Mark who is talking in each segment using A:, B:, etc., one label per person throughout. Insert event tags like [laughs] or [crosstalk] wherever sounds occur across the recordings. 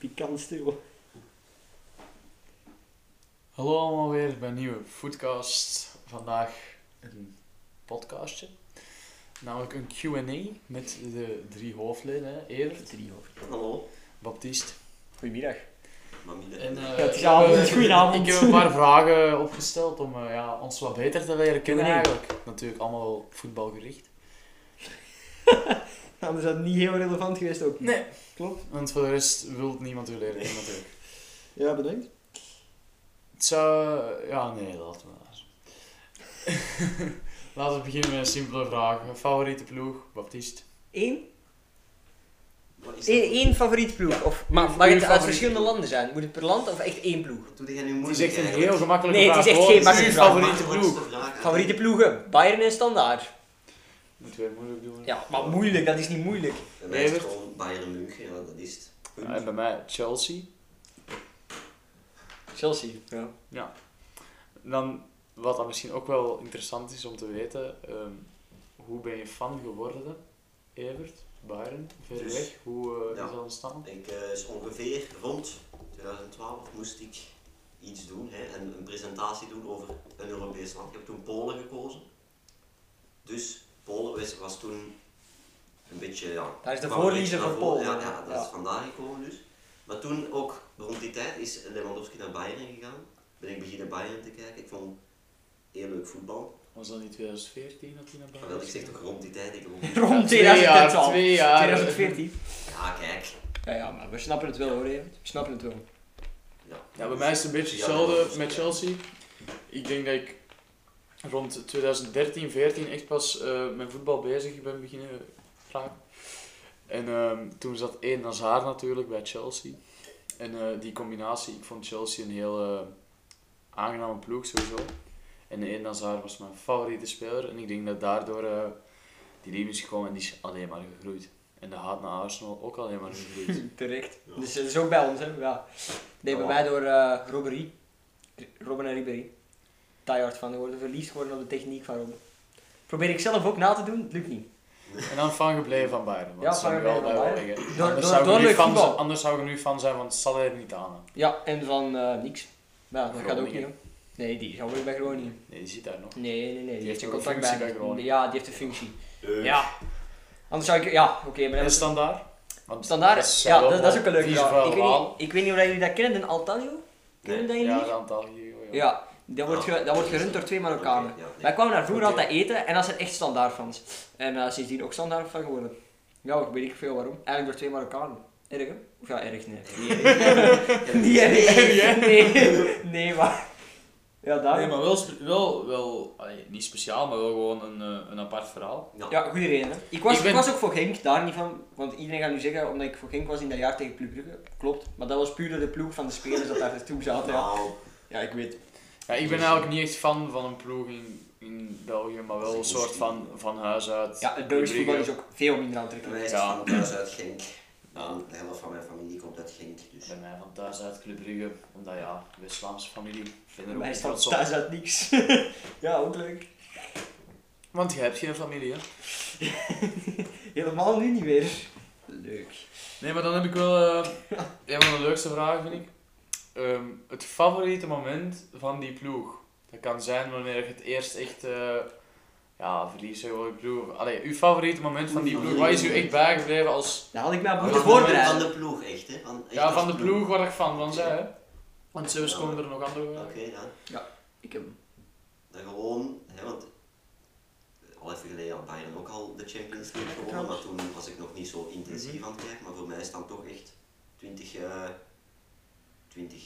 A: Pikant stil.
B: Hallo allemaal weer bij een nieuwe Foodcast. Vandaag een podcastje. Namelijk een Q&A met de drie hoofdleden. hè. Evert,
A: Drie hoofd.
C: Hallo.
B: Baptiste
A: Goedemiddag.
C: Mamie.
B: en... eh,
A: het is avond.
B: eh,
A: Goedenavond.
B: Ik heb een paar vragen opgesteld om eh, ja, ons wat beter te leren kennen
A: Q&A.
B: eigenlijk. Natuurlijk allemaal wel voetbalgericht.
A: Anders had het niet heel relevant geweest ook.
B: Nee.
A: Klopt.
B: Want voor de rest wil niemand u leren kennen natuurlijk.
A: Ja, bedankt.
B: Het zou... eh, Ja, nee, laten we maar. [laughs] laten we beginnen met een simpele vraag. Favoriete ploeg? Baptiste?
D: Eén,
C: Wat is dat?
D: één, één favoriete ploeg? Of,
B: Uw-
D: maar mag
B: uw
D: het uit
B: favoriete
D: verschillende
B: ploeg.
D: landen zijn? Moet het per land of echt één ploeg?
C: Wat doe jij nu
B: Het is
C: moeilijk
B: echt een
C: eigenlijk?
B: heel gemakkelijke
D: Nee,
B: vraag.
D: het is echt
B: hoor.
D: geen
B: Het is uw
D: makkelijke
B: favoriete
D: vraag.
B: ploeg.
C: Makkelijkste vraag.
D: Favoriete ploegen? Bayern en Standaard.
B: Moeten wij moeilijk doen?
D: Ja, maar moeilijk, dat is niet moeilijk.
C: Bij mij is het
B: Evert.
C: gewoon Bayern München, ja, dat is het. Punt.
B: En bij mij Chelsea.
D: Chelsea. Ja.
B: Dan, wat dan misschien ook wel interessant is om te weten, ehm, hoe ben je fan geworden, Evert, Bayern, ver
C: Dus,
B: weg, hoe eh,
C: ja.
B: is dat ontstaan?
C: Ik, eh, is ongeveer rond 2012 moest ik iets doen hè, en een presentatie doen over een Europees land. Ik heb toen Polen gekozen. Dus Polen was, was toen een beetje. Ja,
D: Daar is de
C: kwam een
D: voorliezer
C: beetje
D: voor
C: naar voren.
D: Polen.
C: Ja, ja, dat is
D: Ja.
C: vandaar gekomen dus. Maar toen ook rond die tijd is Lewandowski naar Bayern gegaan. Ben ik beginnen Bayern te kijken. Ik vond heel leuk voetbal.
B: Was dat niet 2014 dat hij naar
C: Maar
B: Bayern
C: wel, ik
B: is
C: zeg toch
B: gegaan?
C: rond die tijd. Ik rond
B: Ja,
D: [laughs] Rond
B: twee jaar,
D: 2012.
B: twee jaar.
D: 2014.
C: Ja, kijk.
D: Ja, ja, maar we snappen het wel hoor, Evert. We snappen het wel.
C: Ja,
B: Ja, bij mij is het een beetje
C: Ja, dat
B: hetzelfde
C: is-
B: met Chelsea. Ik denk dat ik rond 2013, 14 echt pas eh, met voetbal bezig ben beginnen raken. En ehm, toen zat één Hazard natuurlijk bij Chelsea. En eh, die combinatie, ik vond Chelsea een heel eh, aangename ploeg sowieso. En één Hazard was mijn favoriete speler. En ik denk dat daardoor eh, die liefde is gekomen en die is alleen maar gegroeid. En de haat naar Arsenal ook alleen maar gegroeid.
D: Terecht.
C: Ja.
D: Dus dat is ook bij ons, hè? Ja. Nee, bij
B: Ja.
D: mij door eh Robbery. Robben en Ribéry. Diehard van geworden, verliefd geworden op de techniek van Robben. Probeer ik zelf ook na te doen, het lukt niet.
B: En dan fan gebleven van Bayern. want
D: Ja,
B: dat
D: fan
B: zou ik wel
D: gebleven
B: bij
D: van
B: wel zeggen.
D: Door-
B: Anders
D: door-
B: zou ik
D: door
B: nu
D: leuk
B: fan
D: voetbal.
B: zijn- Anders zou ik er nu fan zijn, want het zal er niet aan.
D: Ja, en van eh, niks. Maar ja, dat gaat ook niet
B: Groningen.
D: om. Nee, die gaan we bij Groningen.
B: Nee, die zit daar nog.
D: Nee, nee, nee.
B: Die heeft
D: een
B: ook een
D: contract
B: functie Dus- bij Groningen.
D: Ja, die heeft een functie.
C: Eh,
D: Ja. Anders zou ik... Ja, oké. maar
B: En
D: dan
B: standaard? Want
D: standaard...
B: dat zou
D: ja,
B: wel
D: dat, dat is ook een leuke
B: vies
D: vraag.
B: vuil
D: Ik weet,
B: waal.
D: niet, ik weet niet of jullie dat kennen, de Altanio? Kennen jullie dat
B: Ja,
D: hier?
B: dat aantal hier. joh, Ja.
D: Ja, dat wordt, ge- dat wordt gerund door twee Marokkanen.
C: Oké, ja, nee.
D: Wij kwamen daar vroeger
B: Oké.
D: altijd eten en dat zijn echt standaard fans. En eh, sindsdien ook standaard van geworden. Ja, ik weet ik veel waarom. Eigenlijk door twee Marokkanen. Erg hè? Of ja, erg nee. [laughs]
C: Die heb ik.
D: erg. [laughs] Nee, nee, maar... Ja, daar.
B: Nee, maar wel, spe- wel, wel allee, niet speciaal, maar wel gewoon een, eh, een apart verhaal.
C: Ja,
D: Ja, goede reden. Hè? Ik, was,
B: Ik
D: ik,
B: ben-
D: was ook voor Genk, daar niet van. Want iedereen gaat nu zeggen, omdat ik voor Genk was in dat jaar tegen Club Brugge. Klopt. Maar dat was puur door de ploeg van de spelers dat daar toen zaten. Ja,
C: nou,
D: ja ik weet.
B: Ja, ik ben eigenlijk niet echt fan van een ploeg in, in België, maar wel
C: Dat
B: een
C: is
B: soort
C: goed.
B: van, van huis uit.
D: Ja, het Belgisch voetbal is ook veel minder
C: bij
D: aantrekkelijk.
C: mij is het van thuis uit Genk. Nou, de helft van mijn familie komt uit Genk, dus.
B: Bij mij eh, van thuis uit Club Brugge, omdat ja, West-Vlaamse familie. Ik ben er ook
D: Wij
B: niet
D: staan
B: trots op.
D: thuis uit niks. [laughs] ja, ook leuk.
B: Want je hebt geen familie, hè?
D: Helemaal nu niet meer. Leuk.
B: Nee, maar dan heb ik wel eh, een van de leukste vragen, vind ik. Ehm, het favoriete moment van die ploeg. Dat kan zijn wanneer je het eerst echt eh ja, verlies hè, hoor, ik bedoel. Allee, uw favoriete moment van die ploeg. Wat is u echt bijgebleven als...
D: Daar had ik mij op
C: Van
D: moeten
C: de- Van
D: voorbereiden.
C: de ploeg, echt, hè? Van, echt
B: Ja,
C: als
B: van de ploeg waar ik fan van zei, hè. Want zelfs
C: Ja.
B: komen er nog andere...
C: Oké, ja.
D: Ik heb hem.
C: Dan gewoon, hè, want al even geleden had Bayern ook al de Champions League gewonnen, maar toen was ik nog niet zo
D: Mhm.
C: intensief aan het kijken. Maar voor mij is het dan toch echt 20, eh 20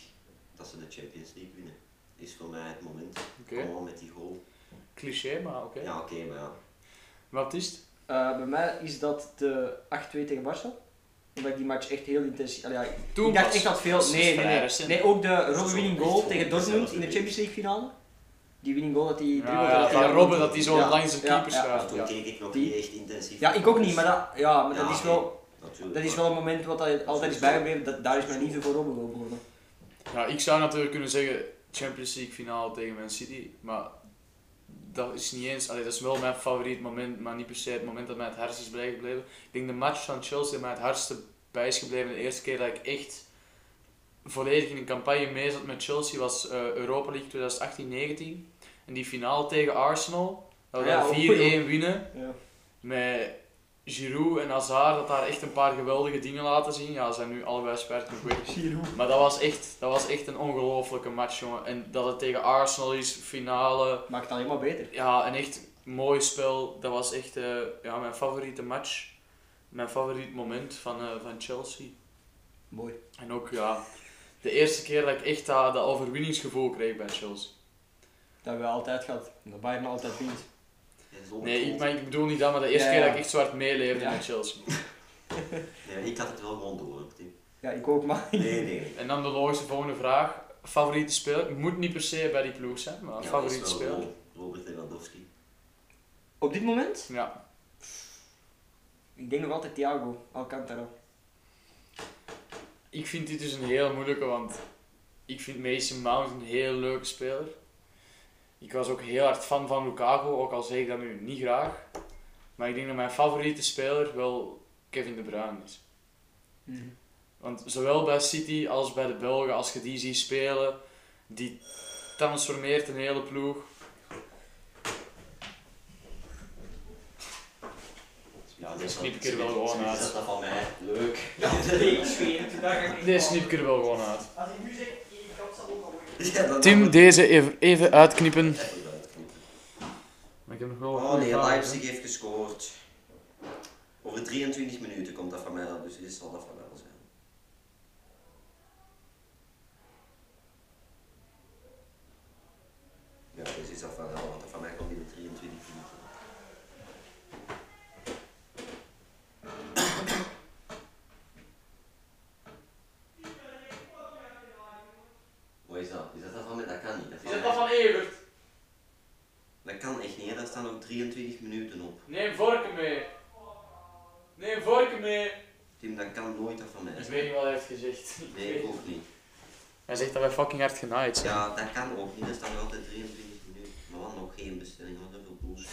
C: dat ze de Champions League winnen. Is voor mij het moment.
B: Oké.
C: Gewoon met die goal.
B: Cliché, maar oké.
C: Ja, oké, maar ja.
B: Wat is het?
D: Eh, bij mij is dat de 8-2 tegen Barça. Omdat ik die match echt heel intensief... Allee, ja,
B: Toen
D: ik dacht
B: pas.
D: echt dat
B: Dat
D: veel.
B: is
D: Nee, nee,
B: vrij
D: nee.
B: recent.
D: Nee, ook de
C: Dat is
D: Robben winning
C: wel
D: goal
C: echt
D: tegen
C: voor-
D: Dortmund
C: dezelfde
D: in de
C: week.
D: Champions League finale. Die winning goal dat hij
B: Ja,
D: dribbelt.
B: ja,
D: dat hij-
B: van Robben dat hij zo
D: Ja,
B: langs de
D: ja,
B: keeper
D: ja.
C: Maar
B: schuift.
C: Dus toen
B: Ja.
C: keek ik nog
D: Die-
C: niet echt intensief.
D: Ja, ik ook niet, maar dat, ja, maar dat
C: Ja,
D: is wel...
C: Natuurlijk,
D: Dat is
C: maar-
D: wel een moment wat hij altijd is bijgebleven. Dat, daar is mijn liefde voor Robben wel begonnen.
B: Ja, Nou, ik zou natuurlijk kunnen zeggen Champions League finale tegen Man City, maar dat is niet eens. Allee, dat is wel mijn favoriet moment, maar niet per se het moment dat mij het hardst is bijgebleven. Ik denk de match van Chelsea die mij het hardste bij is gebleven. De eerste keer dat ik echt volledig in een campagne mee zat met Chelsea was eh, Europa League 2018-19. En die finale tegen Arsenal, dat we
A: Ah ja,
B: daar
A: ook
B: 4-1 winnen.
A: Ja.
B: Met Giroud en Hazard, dat daar echt een paar geweldige dingen laten zien. Ja, ze zijn nu allebei spijtig nog weg.
A: Giroud.
B: Maar dat was echt, dat was echt een ongelofelijke match, jongen. En dat het tegen Arsenal is, finale.
D: Maakt het alleen maar beter.
B: Ja, een echt mooi spel. Dat was echt eh, ja, mijn favoriete match. Mijn favoriet moment van, eh, van Chelsea.
D: Mooi.
B: En ook, ja, de eerste keer dat ik echt dat, dat overwinningsgevoel kreeg bij Chelsea.
D: Dat hebben we altijd gehad. Dat Bayern altijd wint.
C: Ja, zonder
B: Nee,
C: goal.
B: ik, maar ik bedoel niet dat, maar de eerste
D: Ja,
B: keer
D: ja.
B: dat ik echt zwart meeleefde
D: Ja.
B: met Chelsea.
C: Nee, ik had het wel gewoon door. op die-
D: Ja, ik ook, maar... [laughs]
B: [laughs]
C: Nee, nee.
B: En dan de logische volgende vraag. Favoriete speler? Moet niet per se bij die ploeg zijn, maar
C: Ja,
B: favoriete
C: dat is wel
B: speler.
C: gewoon Robert Lewandowski.
D: Op dit moment?
B: Ja,
D: Ik denk nog altijd Thiago Alcantara.
B: ik vind dit dus een heel moeilijke, want ik vind Mason Mount een heel leuke speler. Ik was ook heel hard fan van Lukaku, ook al zeg ik dat nu niet graag. Maar ik denk dat mijn favoriete speler wel Kevin De Bruyne is. Want zowel bij City als bij de Belgen, als je die ziet spelen, die transformeert een hele ploeg.
C: Ja,
B: dat knip ik er
C: dat-
B: wel gewoon
C: dat-
B: uit.
C: Dat dat van mij. Leuk. [laughs]
B: Deze snip ik er wel gewoon uit.
D: Als ik nu zeg, ik kan ze allemaal
C: Ja, dat-
B: Tim,
C: dat-
B: deze even, even uitknippen.
C: Even eruit knippen.
B: Maar ik heb nog wel
C: Oh nee, Leipzig heeft gescoord. Over 23 minuten komt dat van mij, dus dit zal dat van mij wel zijn. Ja, dus is dat van mij, want dat van mij komt in 23 minuten. Wat is dat? Is dat dat van mij? Dat kan niet. Dat, is van mij.
B: van Evert?
C: dat kan echt niet, hè. daar staan ook 23 minuten op.
B: Neem vorken mee. Neem vorken mee.
C: Tim, dat kan nooit dat van mij
B: Ik
C: zijn.
B: weet niet wat hij heeft gezegd. [laughs] Ik
C: Nee,
B: weet-
C: ook niet.
B: Hij zegt dat wij fucking hard genaaid zijn.
C: Ja, dat kan ook niet. Dat staat nog altijd 23 minuten. Maar wat nog geen bestelling, want dat veel bullshit.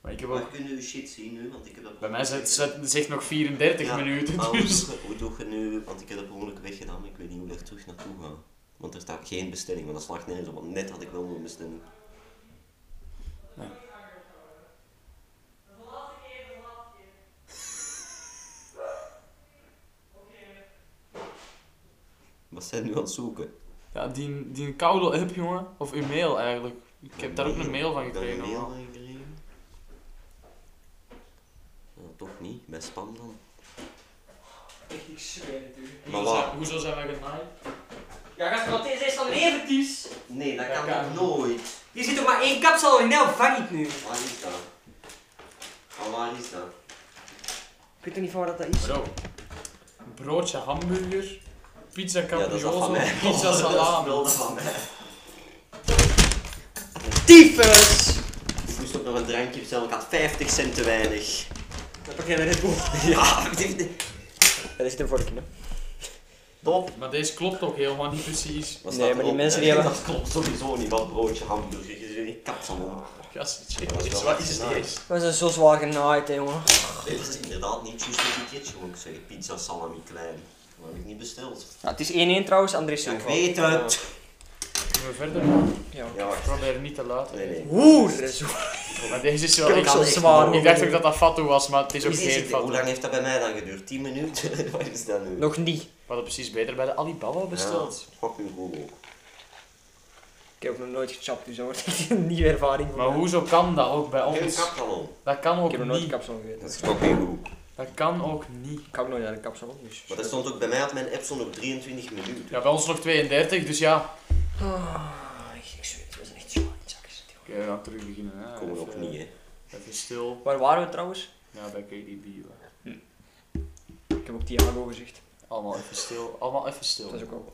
B: Maar ik heb ook...
C: Maar kunnen uw shit zien nu? Want ik heb dat
B: Bij mij zegt zegt nog 34
C: Ja, Oh.
B: minuten,
C: maar hoe
B: dus...
C: doe je- Hoe doe je nu? Want ik heb dat per ongeluk weggedaan, maar ik weet niet hoe ik er terug naartoe ga. Want er staat geen bestelling, want dat slaagt nergens op. Want net had ik wel een bestelling. Wat zijn we nu aan het zoeken?
B: Ja, die, die koude app, jongen. Of uw mail eigenlijk. Ik heb daar ook een mail van
C: Ik heb daar
B: gekregen.
C: Een mail
B: allemaal.
C: van gekregen. Nou, toch niet, bij spam dan.
D: Ik zweer het u.
C: Maar
B: Hoezo
C: waar?
B: zijn- Hoezo zijn wij genaaid?
D: Ja, gast, want deze is van Everties.
C: Nee, dat
B: Dat
C: kan
B: kan
C: toch nooit?
D: Hier zit toch maar één kapsel in, nou vang ik nu.
C: Waar is dat? Van waar is dat?
D: Ik weet toch niet van waar dat is.
B: Bro. Broodje hamburger. Pizza
C: ja, dat is dat van
B: caprioso.
C: mij.
B: [laughs] pizza
C: Oh, [laughs] Dat is
B: salami.
C: wel dat van mij.
D: Tyfus!
C: Ik moest ook nog een drankje bestellen, ik had 50 cent te weinig. Ah,
D: Dan pak jij de Red Bull.
C: [laughs] Ja, ik dacht, nee.
D: Dat is een vorkje, hè.
C: top.
B: Maar deze klopt ook helemaal niet precies. [laughs]
C: Wat
D: Nee,
C: staat
D: maar die
C: erop?
D: mensen die
C: Ja,
D: hebben-
C: Dat klopt sowieso niet, wat broodje hamburger, je zit in kapsalon.
B: Gast,
C: Dat is
B: shit,
C: wel
B: wat is
C: nice.
B: deze?
D: We zijn zo zwaar genaaid, hè, jongen.
C: Nee, dat is inderdaad niet juist een etiketje, gewoon ik zeg pizza salami klein. Dat heb ik niet besteld.
D: Nou, het is 1-1 trouwens, André is
C: Ja,
D: zo
C: ik weet het.
B: Kunnen we verder?
D: Ja.
C: Ja, wacht.
B: Probeer niet te laat.
C: Nee, nee.
D: Oeh, dat is zo-
B: Maar deze is wel
D: Ik heb
B: echt...
D: ook
C: kan
D: zo'n
C: echt
D: zwaar.
C: niet.
B: Ik dacht ook dat dat fatu was, maar het is ook
C: Hoe zit
B: geen
C: het? Hoe
B: fatu.
C: lang heeft dat bij mij dan geduurd? 10 minuten? [laughs] Wat is dat nu?
D: Nog niet.
B: We hadden precies beter bij de Alibaba besteld.
C: Ja, fucking Google.
D: Ik heb ook nog nooit gechapt, dus dat wordt echt [laughs] een nieuwe ervaring voor
B: Maar
D: mij.
B: hoezo kan dat ook bij
C: Geen
B: ons?
C: kapsalon.
B: Dat kan
D: Ik
B: ook
D: heb nog nooit een
B: niet.
D: kapsel gegeten.
C: Dat is fucking goed.
B: Dat kan ook niet.
D: Ik ga ook nooit naar een kapsel, dus...
C: Maar dat stond ook bij mij had mijn app stond op 23 minuten.
B: Ja, bij ons nog 32, dus ja.
D: Ah, ik- ik zweer het, we zijn echt zwaar in het zak gezet,
B: Oké, we gaan terug beginnen. Hè.
C: Komen we nog
B: Even-
C: niet, hè?
B: Even stil.
D: Waar waren we trouwens?
B: Ja, bij KDB. hoor.
D: Ik heb ook Thiago gezegd.
B: Allemaal even stil. Allemaal even stil.
D: Dat is ook wel.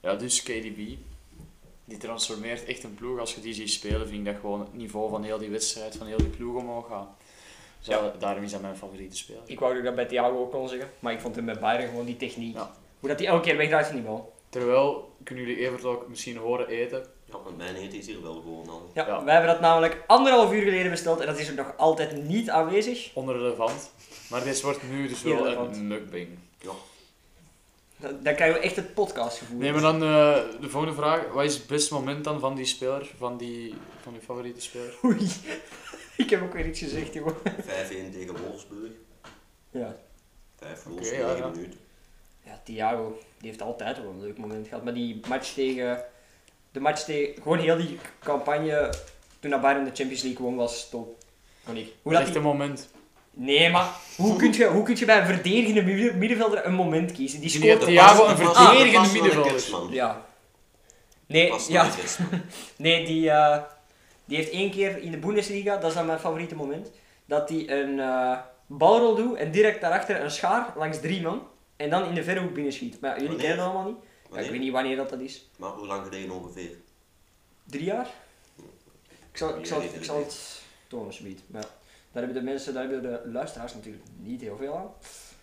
B: Ja, dus KDB. Die transformeert echt een ploeg. Als je die ziet spelen, vind ik dat gewoon het niveau van heel die wedstrijd, van heel die ploeg omhoog gaat. Dus
D: Ja.
B: ja, daarom is dat mijn favoriete speler.
D: Ik wou dat ik dat bij Thiago ook kon zeggen, maar ik vond hem bij Bayern gewoon die techniek.
B: Ja.
D: Hoe dat hij elke keer wegdraait van die bal.
B: Terwijl, kunnen jullie Evert ook misschien horen eten.
C: Ja, want mijn eten is hier wel gewoon al.
D: Ja,
B: Ja.
D: wij hebben dat namelijk anderhalf uur geleden besteld en dat is er nog altijd niet aanwezig.
B: Onrelevant. Maar dit wordt nu dus wel
D: Irrelevant.
B: een mukbang.
D: Dan, dan krijgen we echt het podcastgevoel.
B: Nee, maar dan eh, de volgende vraag. Wat is het beste moment dan van die speler? Van, die, van uw favoriete speler?
D: Oei. [laughs] Ik heb ook weer iets gezegd, joh.
C: 5-1 tegen Wolfsburg.
D: Ja.
C: 5
B: Oké,
C: goals
B: ja,
C: in 9
B: ja.
C: minuten.
D: Ja, Thiago, die heeft altijd wel een leuk moment gehad. Maar die match tegen... De match tegen... Gewoon heel die campagne toen dat Bayern de Champions League won was top. Vond ik.
B: Dat is
D: Hoe dat
B: echt
D: die-
B: een moment.
D: Nee, maar hoe kun, je, hoe kun je bij een verdedigende midden- middenvelder een moment kiezen? Die
B: Die
D: scoort...
B: heeft Thiago een verdedigende middenvelder.
C: middenvelder. Ja.
D: Ja.
B: Eh,
D: Nee,
C: Pas
D: ja,
C: ja. Kerstman.
D: Nee, die, eh, die heeft één keer in de Bundesliga, dat is dan mijn favoriete moment, dat hij een eh, balrol doet en direct daarachter een schaar langs drie man en dan in de verre hoek binnenschiet. Maar jullie
C: Wanneer?
D: kennen dat allemaal niet. Ja, ik weet
C: Wanneer?
D: niet wanneer dat, dat is.
C: Maar hoe lang geleden ongeveer?
D: Drie jaar? Ik zal, ik zal,
C: Ja,
D: ik zal het tonen, alsjeblieft. Maar ja, daar hebben de mensen, daar hebben de luisteraars natuurlijk niet heel veel aan.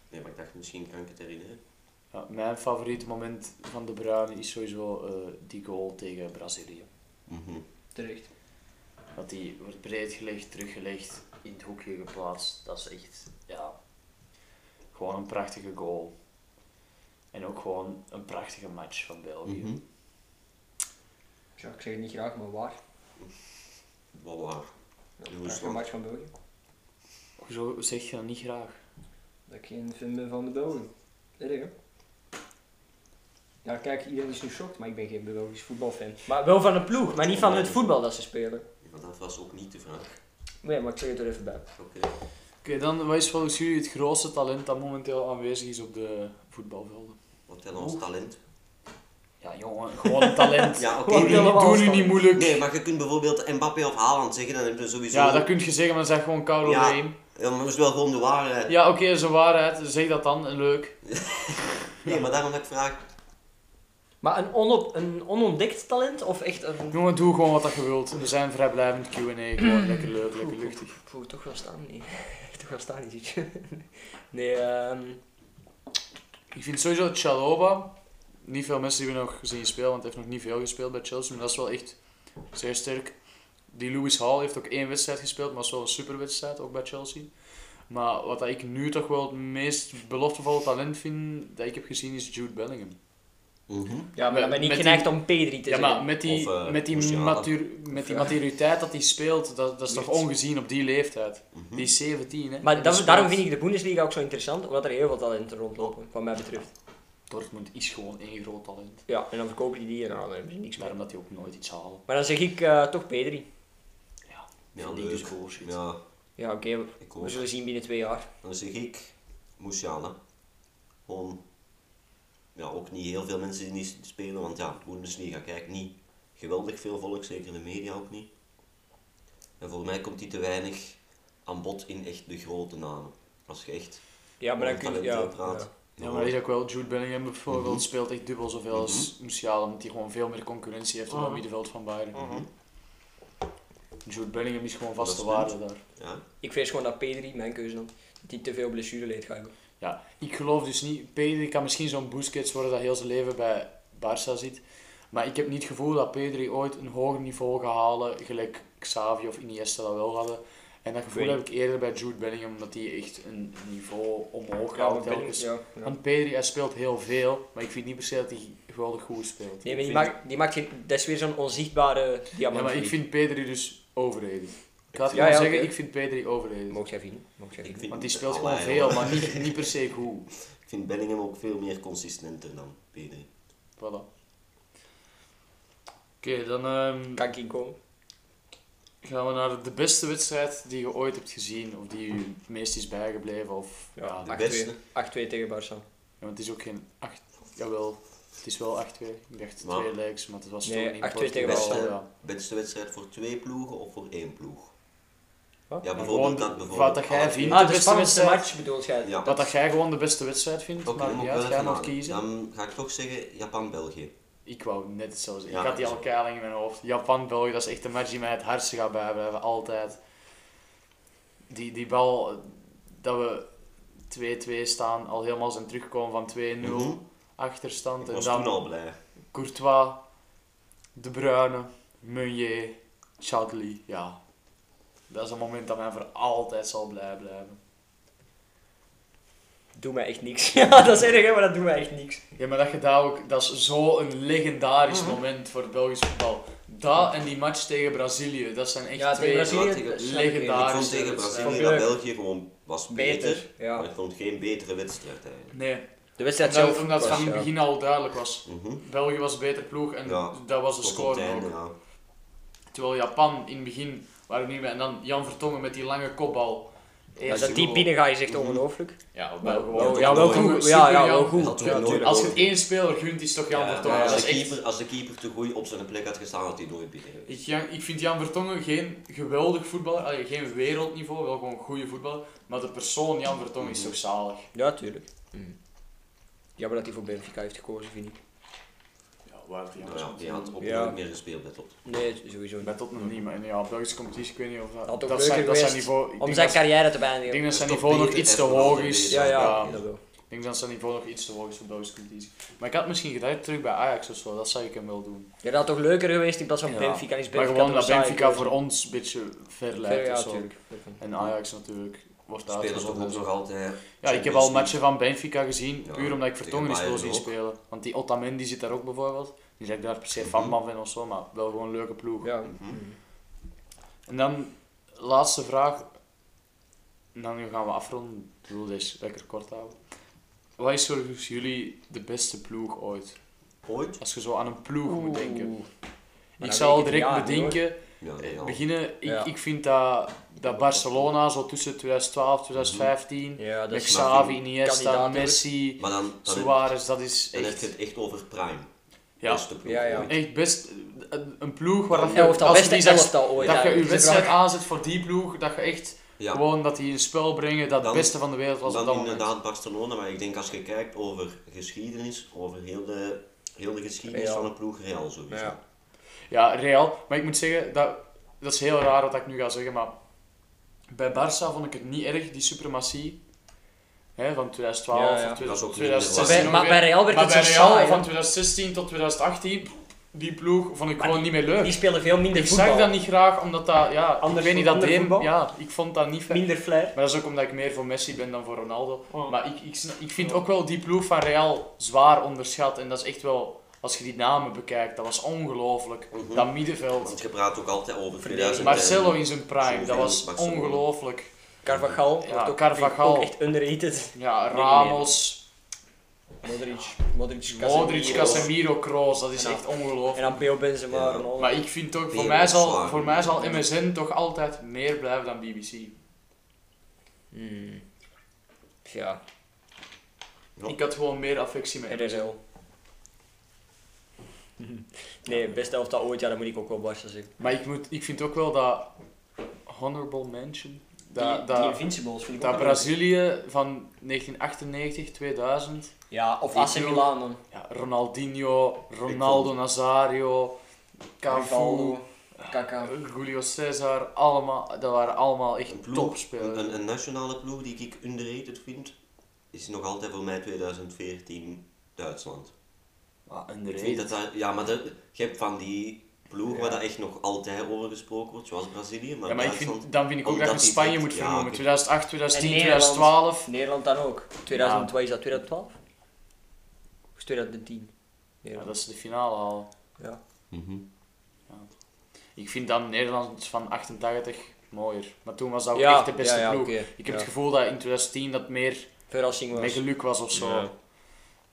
C: Nee, maar ik dacht misschien kan ik het herinneren.
B: Ja, mijn favoriete moment van De Bruyne is sowieso eh, die goal tegen Brazilië.
C: Mhm.
D: Terecht.
B: Dat die wordt breed gelegd, teruggelegd, in het hoekje geplaatst. Dat is echt, ja, gewoon een prachtige goal. En ook gewoon een prachtige match van België.
C: Mhm.
D: Ja, ik zeg het niet graag, maar waar.
C: Wel waar. Hoe
D: Ja,
C: is
D: prachtige
C: het?
D: match van België.
B: Hoezo zeg je dat niet graag?
D: Dat ik geen fan ben van de Belgen. Erg, hè? Ja, kijk, iedereen is nu shocked, maar ik ben geen Belgisch voetbalfan. Maar wel van de ploeg, maar niet van het voetbal dat ze spelen.
C: Ja, dat was ook niet de vraag.
D: Nee, maar ik zeg het er even bij.
C: Oké.
B: Oké, dan wat is volgens jullie het grootste talent dat momenteel aanwezig is op de voetbalvelden?
C: Wat tellen ons
B: [laughs]
C: talent?
B: Ja, jongen, gewoon een [laughs] talent.
C: Ja, oké.
B: Doe
D: Wat
B: nu-
D: willen we
B: doe
D: als
B: nu niet
D: talent?
B: moeilijk.
C: Nee, maar je kunt bijvoorbeeld Mbappé of Haaland zeggen, dan heb je sowieso...
B: Ja, dat kun je zeggen, maar zeg gewoon koud
C: Ja.
B: overheen.
C: Ja, maar dat is wel gewoon de waarheid.
B: Ja, oké, dat is een waarheid. Zeg dat dan, en leuk.
C: Nee, maar daarom dat ik vraag...
D: Maar een, onop, een onontdekt talent of echt een.
B: Jongen, doe gewoon wat dat je wilt. We zijn vrijblijvend Q&A, gewoon lekker leuk, lekker luchtig.
D: Poeh, toch wel staan, [laughs] nee. toch wel staan, is het. [laughs] Nee, ehm.
B: Ik vind sowieso Chaloba, niet veel mensen die we nog zien spelen, want hij heeft nog niet veel gespeeld bij Chelsea, maar dat is wel echt zeer sterk. Die Lewis Hall heeft ook één wedstrijd gespeeld, maar dat is wel een superwedstrijd, ook bij Chelsea. Maar wat dat ik nu toch wel het meest beloftevolle talent vind dat ik heb gezien is Jude Bellingham.
C: Mhm.
D: Ja, maar
B: Met-
D: dan ben ik
B: met
D: geneigd om P3 te
B: Ja,
D: zeggen.
B: maar met die,
C: Of, eh,
B: met die,
C: Musiala.
B: matuur- met die
D: Of, ja.
B: maturiteit dat hij speelt, dat, dat is toch
D: Echt.
B: ongezien op die leeftijd.
C: Mhm.
B: Die is 17, hè.
D: Maar dat- daarom vind ik de Bundesliga ook zo interessant, omdat er heel veel talenten rondlopen, wat mij betreft.
B: Dortmund is gewoon één groot talent.
D: Ja, en dan verkopen die die en dan hebben ze niks meer.
B: Daarom dat die ook nooit iets halen.
D: Maar dan zeg ik eh, toch P3.
B: Ja,
C: Ja,
B: vind ik
C: leuk.
B: dus bullshit.
C: Ja,
D: Ja, oké. we-
C: ik
D: We
C: ook.
D: zullen zien binnen twee jaar.
C: Dan zeg ik Musiala. Gewoon, ja, ook niet heel veel mensen die niet spelen, want ja, Bundesliga kijkt niet geweldig veel volk, zeker in de media ook niet. En voor mij komt die te weinig aan bod in echt de grote namen. Als je echt
D: Ja, maar dan
C: over
D: kun je...
C: talenten
D: Ja,
C: praat.
D: ja.
B: Ja, maar dat is ook wel. Jude Bellingham bijvoorbeeld speelt echt dubbel zoveel als Musiala, omdat hij gewoon veel meer concurrentie heeft op het
D: Mhm.
B: middenveld van Bayern.
C: Mhm.
B: Jude Bellingham is gewoon
C: Dat
B: vaste
C: is punt.
B: waarde daar.
C: Ja,
D: Ik vrees gewoon dat P3, mijn keuze dan, dat die te veel blessureleed gaat hebben.
B: Ja, ik geloof dus niet. Pedri kan misschien zo'n Busquets worden dat heel zijn leven bij Barça zit. Maar ik heb niet het gevoel dat Pedri ooit een hoger niveau gaat halen, gelijk Xavi of Iniesta dat wel hadden. En dat gevoel
D: Weet
B: heb ik eerder bij Jude Bellingham, omdat hij echt een niveau omhoog
D: Ja,
B: haalt
D: maar ben ik-
B: telkens.
D: ja, ja.
B: Want Pedri, hij speelt heel veel, maar ik vind niet per se dat hij geweldig goed speelt.
D: Nee,
B: Ik
D: maar die
B: vind-
D: maakt, die maakt geen... Dat is weer zo'n onzichtbare diamant.
B: Ja, maar ik vind Pedri dus overrated. Ik laat het
D: Ja,
B: gewoon
D: ja,
B: zeggen,
D: oké.
B: ik vind Pedri overrated.
D: Mocht jij vinden. Mocht
C: ik
D: jij vinden.
C: vind
B: Want die speelt gewoon
C: Allee,
B: veel,
C: hoor.
B: maar niet, niet per se goed.
C: Ik vind Bellingham ook veel meer consistenter dan Pedri.
B: Voilà. Oké, dan ehm,
D: Kan ik inkomen?
B: gaan we naar de beste wedstrijd die je ooit hebt gezien. Of die je het meest is bijgebleven. Of, ja.
D: Ja.
B: Ja,
C: De
D: 8-2.
C: beste.
D: 8-2 tegen Barça.
B: want het is ook geen 8... Jawel, het is wel 8-2. Ik dacht
C: Maar-
B: 2 legs, maar het was
D: Nee,
B: toch
D: 8-2 tegen
B: Portugal,
C: Westen.
B: ja.
C: Beste wedstrijd voor twee ploegen of voor één ploeg?
D: Wat?
C: Ja,
B: Gewoon
C: bijvoorbeeld dat bijvoorbeeld.
B: wat dat jij
C: alle
B: vindt.
C: twee-
B: de
D: Ah, de
B: beste
D: spannendste
B: wedstrijd.
D: match bedoelt jij?
C: Ja.
B: Wat dat jij gewoon de beste wedstrijd vindt,
C: Oké,
B: maar
C: dan
B: niet
C: moet
B: uit,
C: ik
B: jij
C: wel
B: mag
C: even aan.
B: kiezen.
C: Dan ga ik toch zeggen Japan-België.
B: Ik wou net hetzelfde zeggen.
C: Ja,
B: ik
C: dus-
B: had die
C: dat
B: al
C: is
B: keihard lang in mijn hoofd. Japan-België, dat is echt een match die mij het hardste gaat bijblijven. Altijd. Die, die bal, eh, dat we 2-2 staan, al helemaal zijn terugkomen van 2-0
C: Mhm.
B: achterstand.
C: Ik
B: En
C: was toen
B: dan
C: al blij.
B: Courtois De Bruyne, Meunier, Chadli, ja. Dat is een moment dat mij voor altijd zal blij blijven.
D: Doe mij echt niks. [laughs] ja, dat is erg, hè, maar dat doet mij echt niks.
B: Ja, maar dat, je daar ook, dat is zo'n legendarisch
C: Mhm.
B: moment voor het Belgisch voetbal. Dat en die match tegen Brazilië, dat zijn echt
D: Ja, tegen
B: twee
D: Brazilië
C: tegen
D: dat snap ik niet.
C: Ik
B: legendarische
C: vond tegen
B: wedstrijden.
C: Brazilië dat België gewoon was beter,
D: Beter.
C: maar
D: Ja.
C: ik vond geen betere wedstrijd eigenlijk.
B: Nee,
D: De wedstrijd
B: omdat,
D: zelf.
B: omdat het
D: was,
B: van in het
D: ja.
B: begin al duidelijk was.
C: Mhm.
B: België was beter ploeg en
C: Ja,
B: dat was de
C: Tot op
B: score
C: het einde,
B: ook.
C: ja.
B: Terwijl Japan in het begin waren niet meer. En dan Jan Vertongen met die lange kopbal.
D: Ja,
B: Eerste
D: dat die
B: goal.
D: binnen gaat is echt ongelooflijk.
B: Ja, wel
D: Wel-
B: gewoon.
D: wel- Ja, wel
B: Super
D: goed. Ja, ja,
B: Jan.
D: wel
C: Dat
D: goed.
C: we
D: Ja,
C: natuurlijk
D: tuurlijk.
B: Als je het één speler gunt, is het toch Jan
C: Ja,
B: Vertongen.
C: maar
B: dat
C: als,
B: is
C: de
B: echt...
C: keeper, als de keeper te goed op zijn plek had gestaan, had hij nooit binnen.
B: Ik, Jan- ik vind Jan Vertongen geen geweldig voetballer, allee, geen wereldniveau, wel gewoon een goede voetballer. Maar de persoon Jan Vertongen
C: Mhm.
B: is toch zalig.
D: Ja, tuurlijk.
B: Mm.
D: Jammer dat hij voor Benfica heeft gekozen, vind ik.
B: Ja, waar die
C: Nou ja,
B: Jan
C: die had ook
D: Ja.
C: nooit meer gespeeld bij Tot.
D: Nee, sowieso niet.
B: Bij Tottenham niet, maar in ja, Belgische competitie, ik weet niet of dat...
D: Had ook
B: dat,
D: leuker
B: zijn, dat zijn
D: geweest
B: niveau... Ik
D: Om
B: denk
D: zijn
B: dat,
D: carrière te
B: ik denk
D: beëindigen.
B: dat zijn
C: Dat is
B: niveau
C: toch
B: nog
C: beter
B: iets te
C: en vooral
B: hoog
C: de
B: is.
C: betere.
D: Ja, ja,
B: Ja.
D: dat wel.
B: Ik denk dat zijn niveau nog iets te hoog is voor Belgische competitie. Maar ik had misschien gedacht terug bij Ajax of zo, dat zou ik hem wel doen.
D: Ja, dat had toch leuker geweest in plaats van
B: Ja.
D: Benfica. Is
B: Maar
D: Benfica
B: gewoon
D: toch
B: dat
D: saai
B: Benfica
D: keuze.
B: voor ons een beetje ver
D: Ver-
B: lijkt
D: Ja,
B: of zo.
D: tuurlijk.
B: En Ajax natuurlijk wordt
C: Spelers toch ook
B: uitgezonden.
C: nog altijd.
B: Ja, ik heb al matchen van Benfica gezien,
C: Ja,
B: puur omdat ik
C: tegen
B: Vertongen eens wil
C: Bayern
B: zien
C: ook.
B: spelen. Want die Otamendi zit daar ook bijvoorbeeld. Die zeg ik daar per se
C: Mhm.
B: fan van vind of zo, maar wel gewoon een leuke ploeg.
D: Ja.
B: En dan, laatste vraag. En dan gaan we afronden. Ik wil deze lekker kort houden. Wat is volgens jullie de beste ploeg ooit?
C: Ooit?
B: Als je zo aan een ploeg moet denken.
D: dan
B: Ik
D: weet
B: zal
D: ik het
B: direct
D: niet, hoor.
B: bedenken.
C: Ja, nee, ja.
B: Beginnen, ik,
D: Ja.
B: ik vind dat, dat Barcelona zo tussen 2012 2015,
D: Mhm. Ja, dat
B: met
D: is...
C: Mexico.
B: Xavi, Iniesta,
D: kandidaat, hè.
B: Messi,
C: Maar dan, dan, heb-
B: Suarez, dat is
C: dan heb je
B: echt,
C: het echt over prime.
B: ja,
C: Beste ploeg
D: Ja, ja.
C: ooit.
B: echt best een- een ploeg waar
D: Ja, of
B: je,
D: dat
B: als je
D: beste
B: die zegt,
D: elftal ooit.
B: dat
D: Oh ja,
B: je je
D: is
B: wedstrijd
D: waar.
B: aanzet voor die ploeg, dat je echt
C: Ja.
B: gewoon dat die een spel brengen dat het
C: Dan-
B: beste van de wereld was op dat
C: Dan
B: moment.
C: inderdaad Barcelona, maar ik denk als je kijkt over geschiedenis, over heel de, heel de geschiedenis
D: Real.
C: van een ploeg Real sowieso.
D: Ja.
B: Ja, Real. Maar ik moet zeggen, dat, dat is heel raar wat ik nu ga zeggen, maar bij Barça vond ik het niet erg, die suprematie. Hè, van 2012
D: Ja, ja.
B: of twe-
C: Dat is ook niet
D: Maar
B: 2016.
D: bij- Maar bij Real
B: ongeveer.
D: werd
B: Maar
D: het zo
B: bij Real
D: saai.
B: van
D: hè.
B: 2016 tot 2018, die ploeg vond ik
D: Maar
B: gewoon niet meer leuk.
D: Die speelden veel minder
B: Ik zag dat
D: voetbal.
B: niet graag, omdat dat, ja, ik
D: Anders
B: weet niet, dat
D: voetbal?
B: deed, ja, ik vond dat niet fijn.
D: Minder flair.
B: Maar dat is ook omdat ik meer voor Messi ben dan voor Ronaldo.
D: Oh.
B: Maar ik, ik, sna- ik vind ook wel die ploeg van Real zwaar onderschat. En dat is echt wel, als je die namen bekijkt, dat was ongelooflijk.
C: Mhm.
B: Dat middenveld.
C: Want je praat ook altijd over
D: Verdediging.
C: 2000.
B: Marcelo in zijn prime, dat
C: Zoveel
B: was
C: Barcelona.
B: ongelooflijk.
D: Carvajal
B: Ja,
D: wordt ook,
B: Carvajal.
D: ook echt underrated.
B: Ja,
D: Nee,
B: Ramos,
D: Modric, Modric,
B: Modric, Casemiro, Kroos, dat is
D: En dan-
B: echt
D: En
B: ongelooflijk.
D: dan Beel Benzema,
C: Ja.
D: Ronaldo.
B: Maar ik vind toch, voor
C: Weer
B: mij, zal,
C: opslaan.
B: voor mij zal MSN toch altijd meer blijven dan BBC.
D: Hmm. Ja,
C: Ja.
B: Ik had gewoon meer affectie met MSN.
D: RSL. [laughs] Nee, beste elftal ooit, ja, dan moet ik ook wel Barca zeggen.
B: Maar ik, moet, ik vind ook wel dat honorable mention, dat,
D: die,
B: dat,
D: die Invincibles vind ik
B: Dat
D: ook
B: Brazilië van 1998, 2000.
D: wel- Ja, of
B: die
D: AC
B: ploeg.
D: Milan dan.
B: Ja, Ronaldinho,
C: Ik
B: Ronaldo
C: vond-
B: Nazario, Cafu,
D: Rivaldo, Kaká.
B: Julio Cesar, allemaal, dat waren allemaal
C: Een
B: echt
C: ploeg,
B: topspelers.
C: Een, een nationale ploeg die ik underrated vind, is nog altijd voor mij 2014 Duitsland.
B: Ah,
C: Ik vind dat
B: underrated.
C: daar- ja, maar dat, je hebt van die ploeg
B: Ja.
C: waar dat echt nog altijd over gesproken wordt, zoals Brazilië, maar,
B: Ja, maar ik
C: Duitsland... Oh,
B: vind, dan vind ik ook dat je
C: omdat die
B: Spanje
C: dit-
B: moet
C: ja,
B: vernoemen.
C: oké.
B: 2008, 2010,
D: En Nederland.
B: 2012.
D: Nederland dan ook. 2000, wat is dat, 2012? Of is 2010?
B: Ja,
D: Nederland.
B: dat is de finale al.
D: Ja.
C: Mhm.
B: Ik vind dan Nederland van 88 mooier. Maar toen was dat ook
D: Ja,
B: echt de beste
D: ja, ja,
B: ploeg.
D: oké.
B: Ik heb
D: Ja.
B: het gevoel dat in 2010 dat meer
D: Verrassing was.
B: met geluk was of zo.
D: Ja.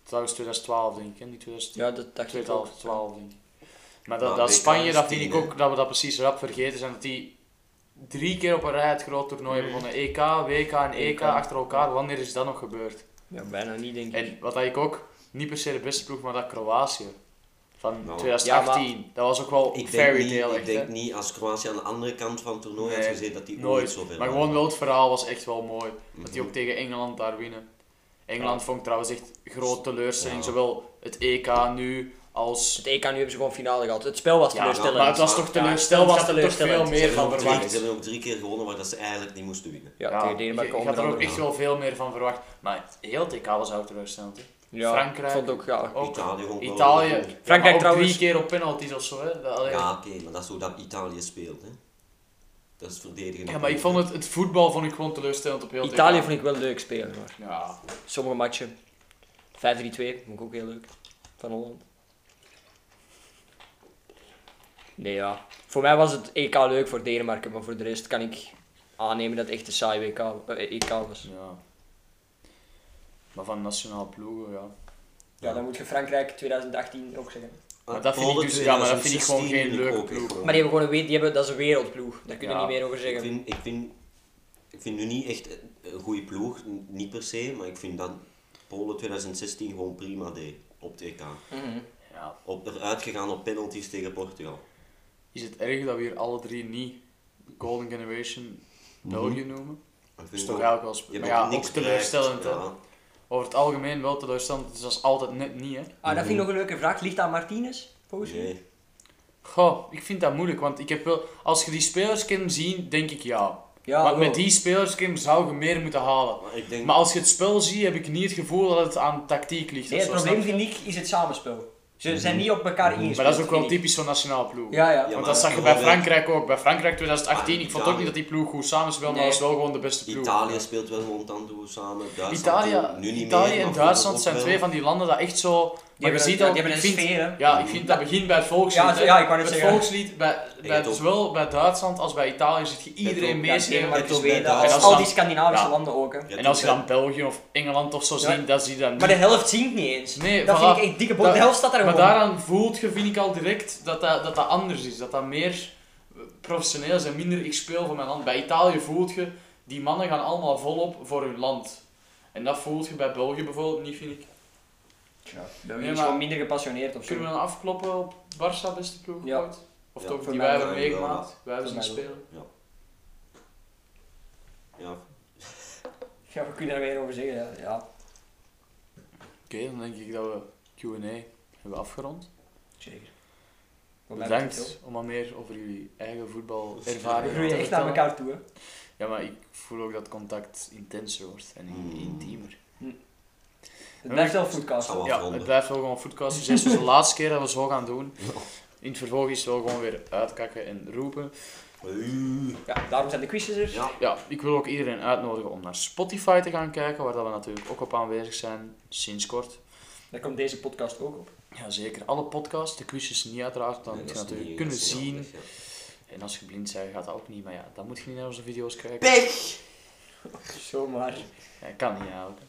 B: Trouwens 2012 denk ik, hè? niet 2010.
D: Ja, dat dacht ik ook.
B: 2012, 12 denk ik. Maar dat,
C: Maar
B: dat
C: WK
B: Spanje,
C: is
B: dat vind ik
C: tien, hè?
B: ook dat we dat precies rap vergeten zijn. Dat die drie keer op een rij het groot toernooi hebben gewonnen. E EK, WK en EK
C: E
D: EK.
B: achter elkaar. Wanneer is dat nog gebeurd?
D: Ja, bijna niet, denk ik.
B: En wat dat ik ook, niet per se de beste ploeg, maar dat Kroatië. Van
C: Nou.
B: 2018. dat was ook wel
C: Ik denk,
B: fairy
C: niet,
B: tale
C: ik
B: echt. hè.
C: denk niet als Kroatië aan de andere kant van het toernooi
B: Nee,
C: had gezeten dat die
B: Nooit.
C: ooit zo ver
B: maar
C: waren.
B: gewoon wel het verhaal was echt wel mooi. Dat die
C: Mhm.
B: ook tegen Engeland daar winnen. Engeland vond ik trouwens echt groot teleurstelling.
C: Ja.
B: Zowel het EK nu als
D: Het EK nu hebben ze gewoon finale gehad. Het spel was
B: Ja,
D: teleurstellend.
B: maar het was toch
D: Ja,
B: teleurstellend, was er toch veel
D: teleurstellend.
C: Ze
B: meer
C: hebben
B: van
C: ook drie-
B: verwacht.
C: Ze hebben ook drie keer gewonnen waar dat ze eigenlijk niet moesten winnen.
D: Ja,
B: Ja,
D: tegen
B: je,
D: Denemarken
B: je had
D: onder
B: er ook
D: andere.
B: echt wel veel meer van verwacht. Maar heel TK was ook teleurstellend. hè.
D: Ja,
B: Frankrijk.
D: Ik vond het ook, ja.
B: Ook
C: Italië gewoon wel.
B: Italië.
C: Ja,
B: Ja, maar ook
D: trouwens.
B: drie keer op penalties of zo, hè. Dat- allee.
C: Ja, oké, maar dat is hoe dat Italië speelt, hè. Dat is verdedigen.
B: Ja, maar ik vond het, het voetbal vond ik gewoon teleurstellend op heel het
D: Italië
B: EK.
D: vond ik wel leuk spelen, maar
B: Ja,
D: sommige matchen. 5-3-2 vond ik ook heel leuk. Van Holland. Nee, ja. Voor mij was het EK leuk voor Denemarken, maar voor de rest kan ik aannemen dat het echt een saai WK, eh, EK was.
B: ja. Maar van nationaal ploegen, ja.
D: Ja, dan moet je Frankrijk 2018 ook zeggen.
B: Maar dat vind ik dus- ja, maar dat vind ik gewoon geen leuke ploeg.
D: Maar die hebben gewoon een, we- die hebben, dat is een wereldploeg, daar kun je
B: Ja.
D: niet meer over
C: Ik
D: zeggen.
C: vind, ik, vind, ik vind nu niet echt een goede ploeg, n- niet per se, maar ik vind dat Polen 2016 gewoon prima deed op het EK.
D: Mhm.
B: ja.
C: Op, eruit gegaan op penalties tegen Portugal.
B: Is het erg dat we hier alle drie niet Golden Generation België noemen?
C: Ik vind
B: Dat is
C: ook-
B: toch eigenlijk wel... sp-
C: je hebt
B: Maar ja,
C: ook
B: ook
C: niks
B: teleurstellend,
C: bereikt,
B: hè.
C: ja.
B: Over het algemeen wel teleurstellend, dus dat is altijd net niet, hè.
D: Ah, dat vind ik nog een leuke vraag. Ligt aan Martinez? Volgens u?
C: Nee.
B: Goh, ik vind dat moeilijk, want ik heb wel... Als je die spelers kan zien, denk ik ja.
D: Ja,
B: want
D: wel.
B: met die spelers Kim, zou je meer moeten halen.
C: Maar ik denk,
B: Maar als je het spel ziet, heb ik niet het gevoel dat het aan tactiek ligt.
D: Nee,
B: of
D: het
B: zo,
D: probleem
B: snap
D: vind ik is het samenspel. Ze zijn niet op elkaar
B: je?
D: ingespeeld.
B: Mhm. Maar dat is ook wel
D: vind ik.
B: typisch van nationaal ploeg.
D: Ja, ja.
C: Ja,
B: Want
C: maar
B: dat zag je bij
C: bijvoorbeeld-
B: Frankrijk ook. Bij Frankrijk 2018,
C: Ah,
B: ik vond ook niet dat die ploeg goed samenspeelde, maar
D: Nee.
B: dat was wel gewoon de beste ploeg.
C: Italië speelt wel gewoon Tanto samen, Duitsland
B: Italië,
C: nu
B: Italië
C: niet meer, maar
B: en
C: vroeger
B: Duitsland
C: ook
B: zijn
C: wel.
B: twee van die landen dat echt zo...
D: Die
B: Maar je
D: hebben,
B: ziet
D: ja,
B: ook,
D: die hebben
B: ik
D: een
B: vind-
D: sfeer, hè.
B: Ja, ik vind dat begint bij het volkslied.
D: Ja,
B: hè.
D: ja, ik wou net
B: het
D: zeggen.
B: volkslied, bij, bij,
C: het ook.
B: zowel bij Duitsland als bij Italië zit je
C: Het
B: iedereen
C: ook.
D: Ja,
B: meeschreven.
D: Denemarken,
C: het ook bij
D: Zweden,
C: Duitsland.
D: als- al die Scandinavische
B: Ja.
D: landen ook. Hè.
C: Ja,
B: En als je
C: toen-
B: dan België of Engeland of zo
D: Ja.
B: ziet, dat zie je dan niet.
D: Maar de helft zingt niet eens.
B: Nee,
D: dat
B: voilà.
D: vind ik echt dikke bot.
B: Dat-
D: De helft staat daar
B: Maar
D: gewoon.
B: daaraan voelt je, vind ik al direct, dat dat, dat dat anders is. Dat dat meer professioneel is en minder ik speel voor mijn land. Bij Italië voelt je, die mannen gaan allemaal volop voor hun land. En dat voelt je bij België bijvoorbeeld niet, vind ik.
A: Ja.
D: Dat
B: Nee,
D: is
B: maar-
D: gewoon minder gepassioneerd of zo.
B: Kunnen we dan afkloppen op Barça, beste ploeg
D: Ja.
B: ooit? Of
C: Ja,
B: toch,
D: voor
B: die
D: mij
B: wij hebben
C: wel, ja.
B: meegemaakt. Wij hebben ze
D: Voor
B: niet
D: mij
B: spelen.
C: Ja,
D: Ja, we kunnen daar meer over zeggen. Ja. ja.
B: Oké, dan denk ik dat we Q&A hebben afgerond.
D: Zeker. Voor mij betreft het
B: Bedankt om wat meer over jullie eigen
D: wel. We
B: voetbalervaring te
D: groeien echt naar
B: vertellen.
D: elkaar toe. Hè.
B: Ja, maar ik voel ook dat contact intenser wordt en in-
C: Mm.
D: Hmm.
B: intiemer.
D: Het blijft wel
C: dat
D: voetcast.
C: zal wel
B: Ja,
C: afronden.
B: het blijft wel gewoon voetcast. Dus dit is dus de laatste keer dat we zo gaan doen. In het vervolg is het wel gewoon weer uitkakken en roepen.
C: Oeh.
D: Ja, daarom zijn de quizjes er.
C: Ja,
B: Ja, ik wil ook iedereen uitnodigen om naar Spotify te gaan kijken, waar dat we natuurlijk ook op aanwezig zijn sinds kort.
D: Daar komt deze podcast ook op.
B: Ja, zeker. Alle podcasts, de quizjes niet uiteraard, dan
C: Nee,
B: moet je
C: dat is
B: natuurlijk
C: niet-
B: kunnen
C: dat is niet
B: zien.
C: handig, ja.
B: En als je blind bent, gaat dat ook niet, maar ja, dan moet je niet naar onze video's kijken.
C: Pech!
D: Zomaar.
B: Ja, kan niet eigenlijk.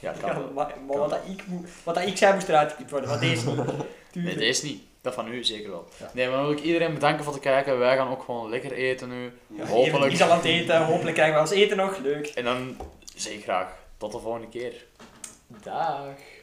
B: Ja, kan
D: Ja,
B: wel.
D: maar maar wat, dat ik moe- wat dat ik zei moest eruit geknipt worden, wat deze niet.
B: Nee,
D: Tuurlijk.
B: deze niet. Dat van u zeker wel.
D: Ja.
B: Nee, maar dan wil ik iedereen bedanken voor het kijken. Wij gaan ook gewoon lekker eten nu.
C: Ja,
D: Hopelijk.
B: hopelijk.
D: Ik zal aan het eten, hopelijk krijgen we ons eten nog. Leuk.
B: En dan zeg ik graag tot de volgende keer. Dag.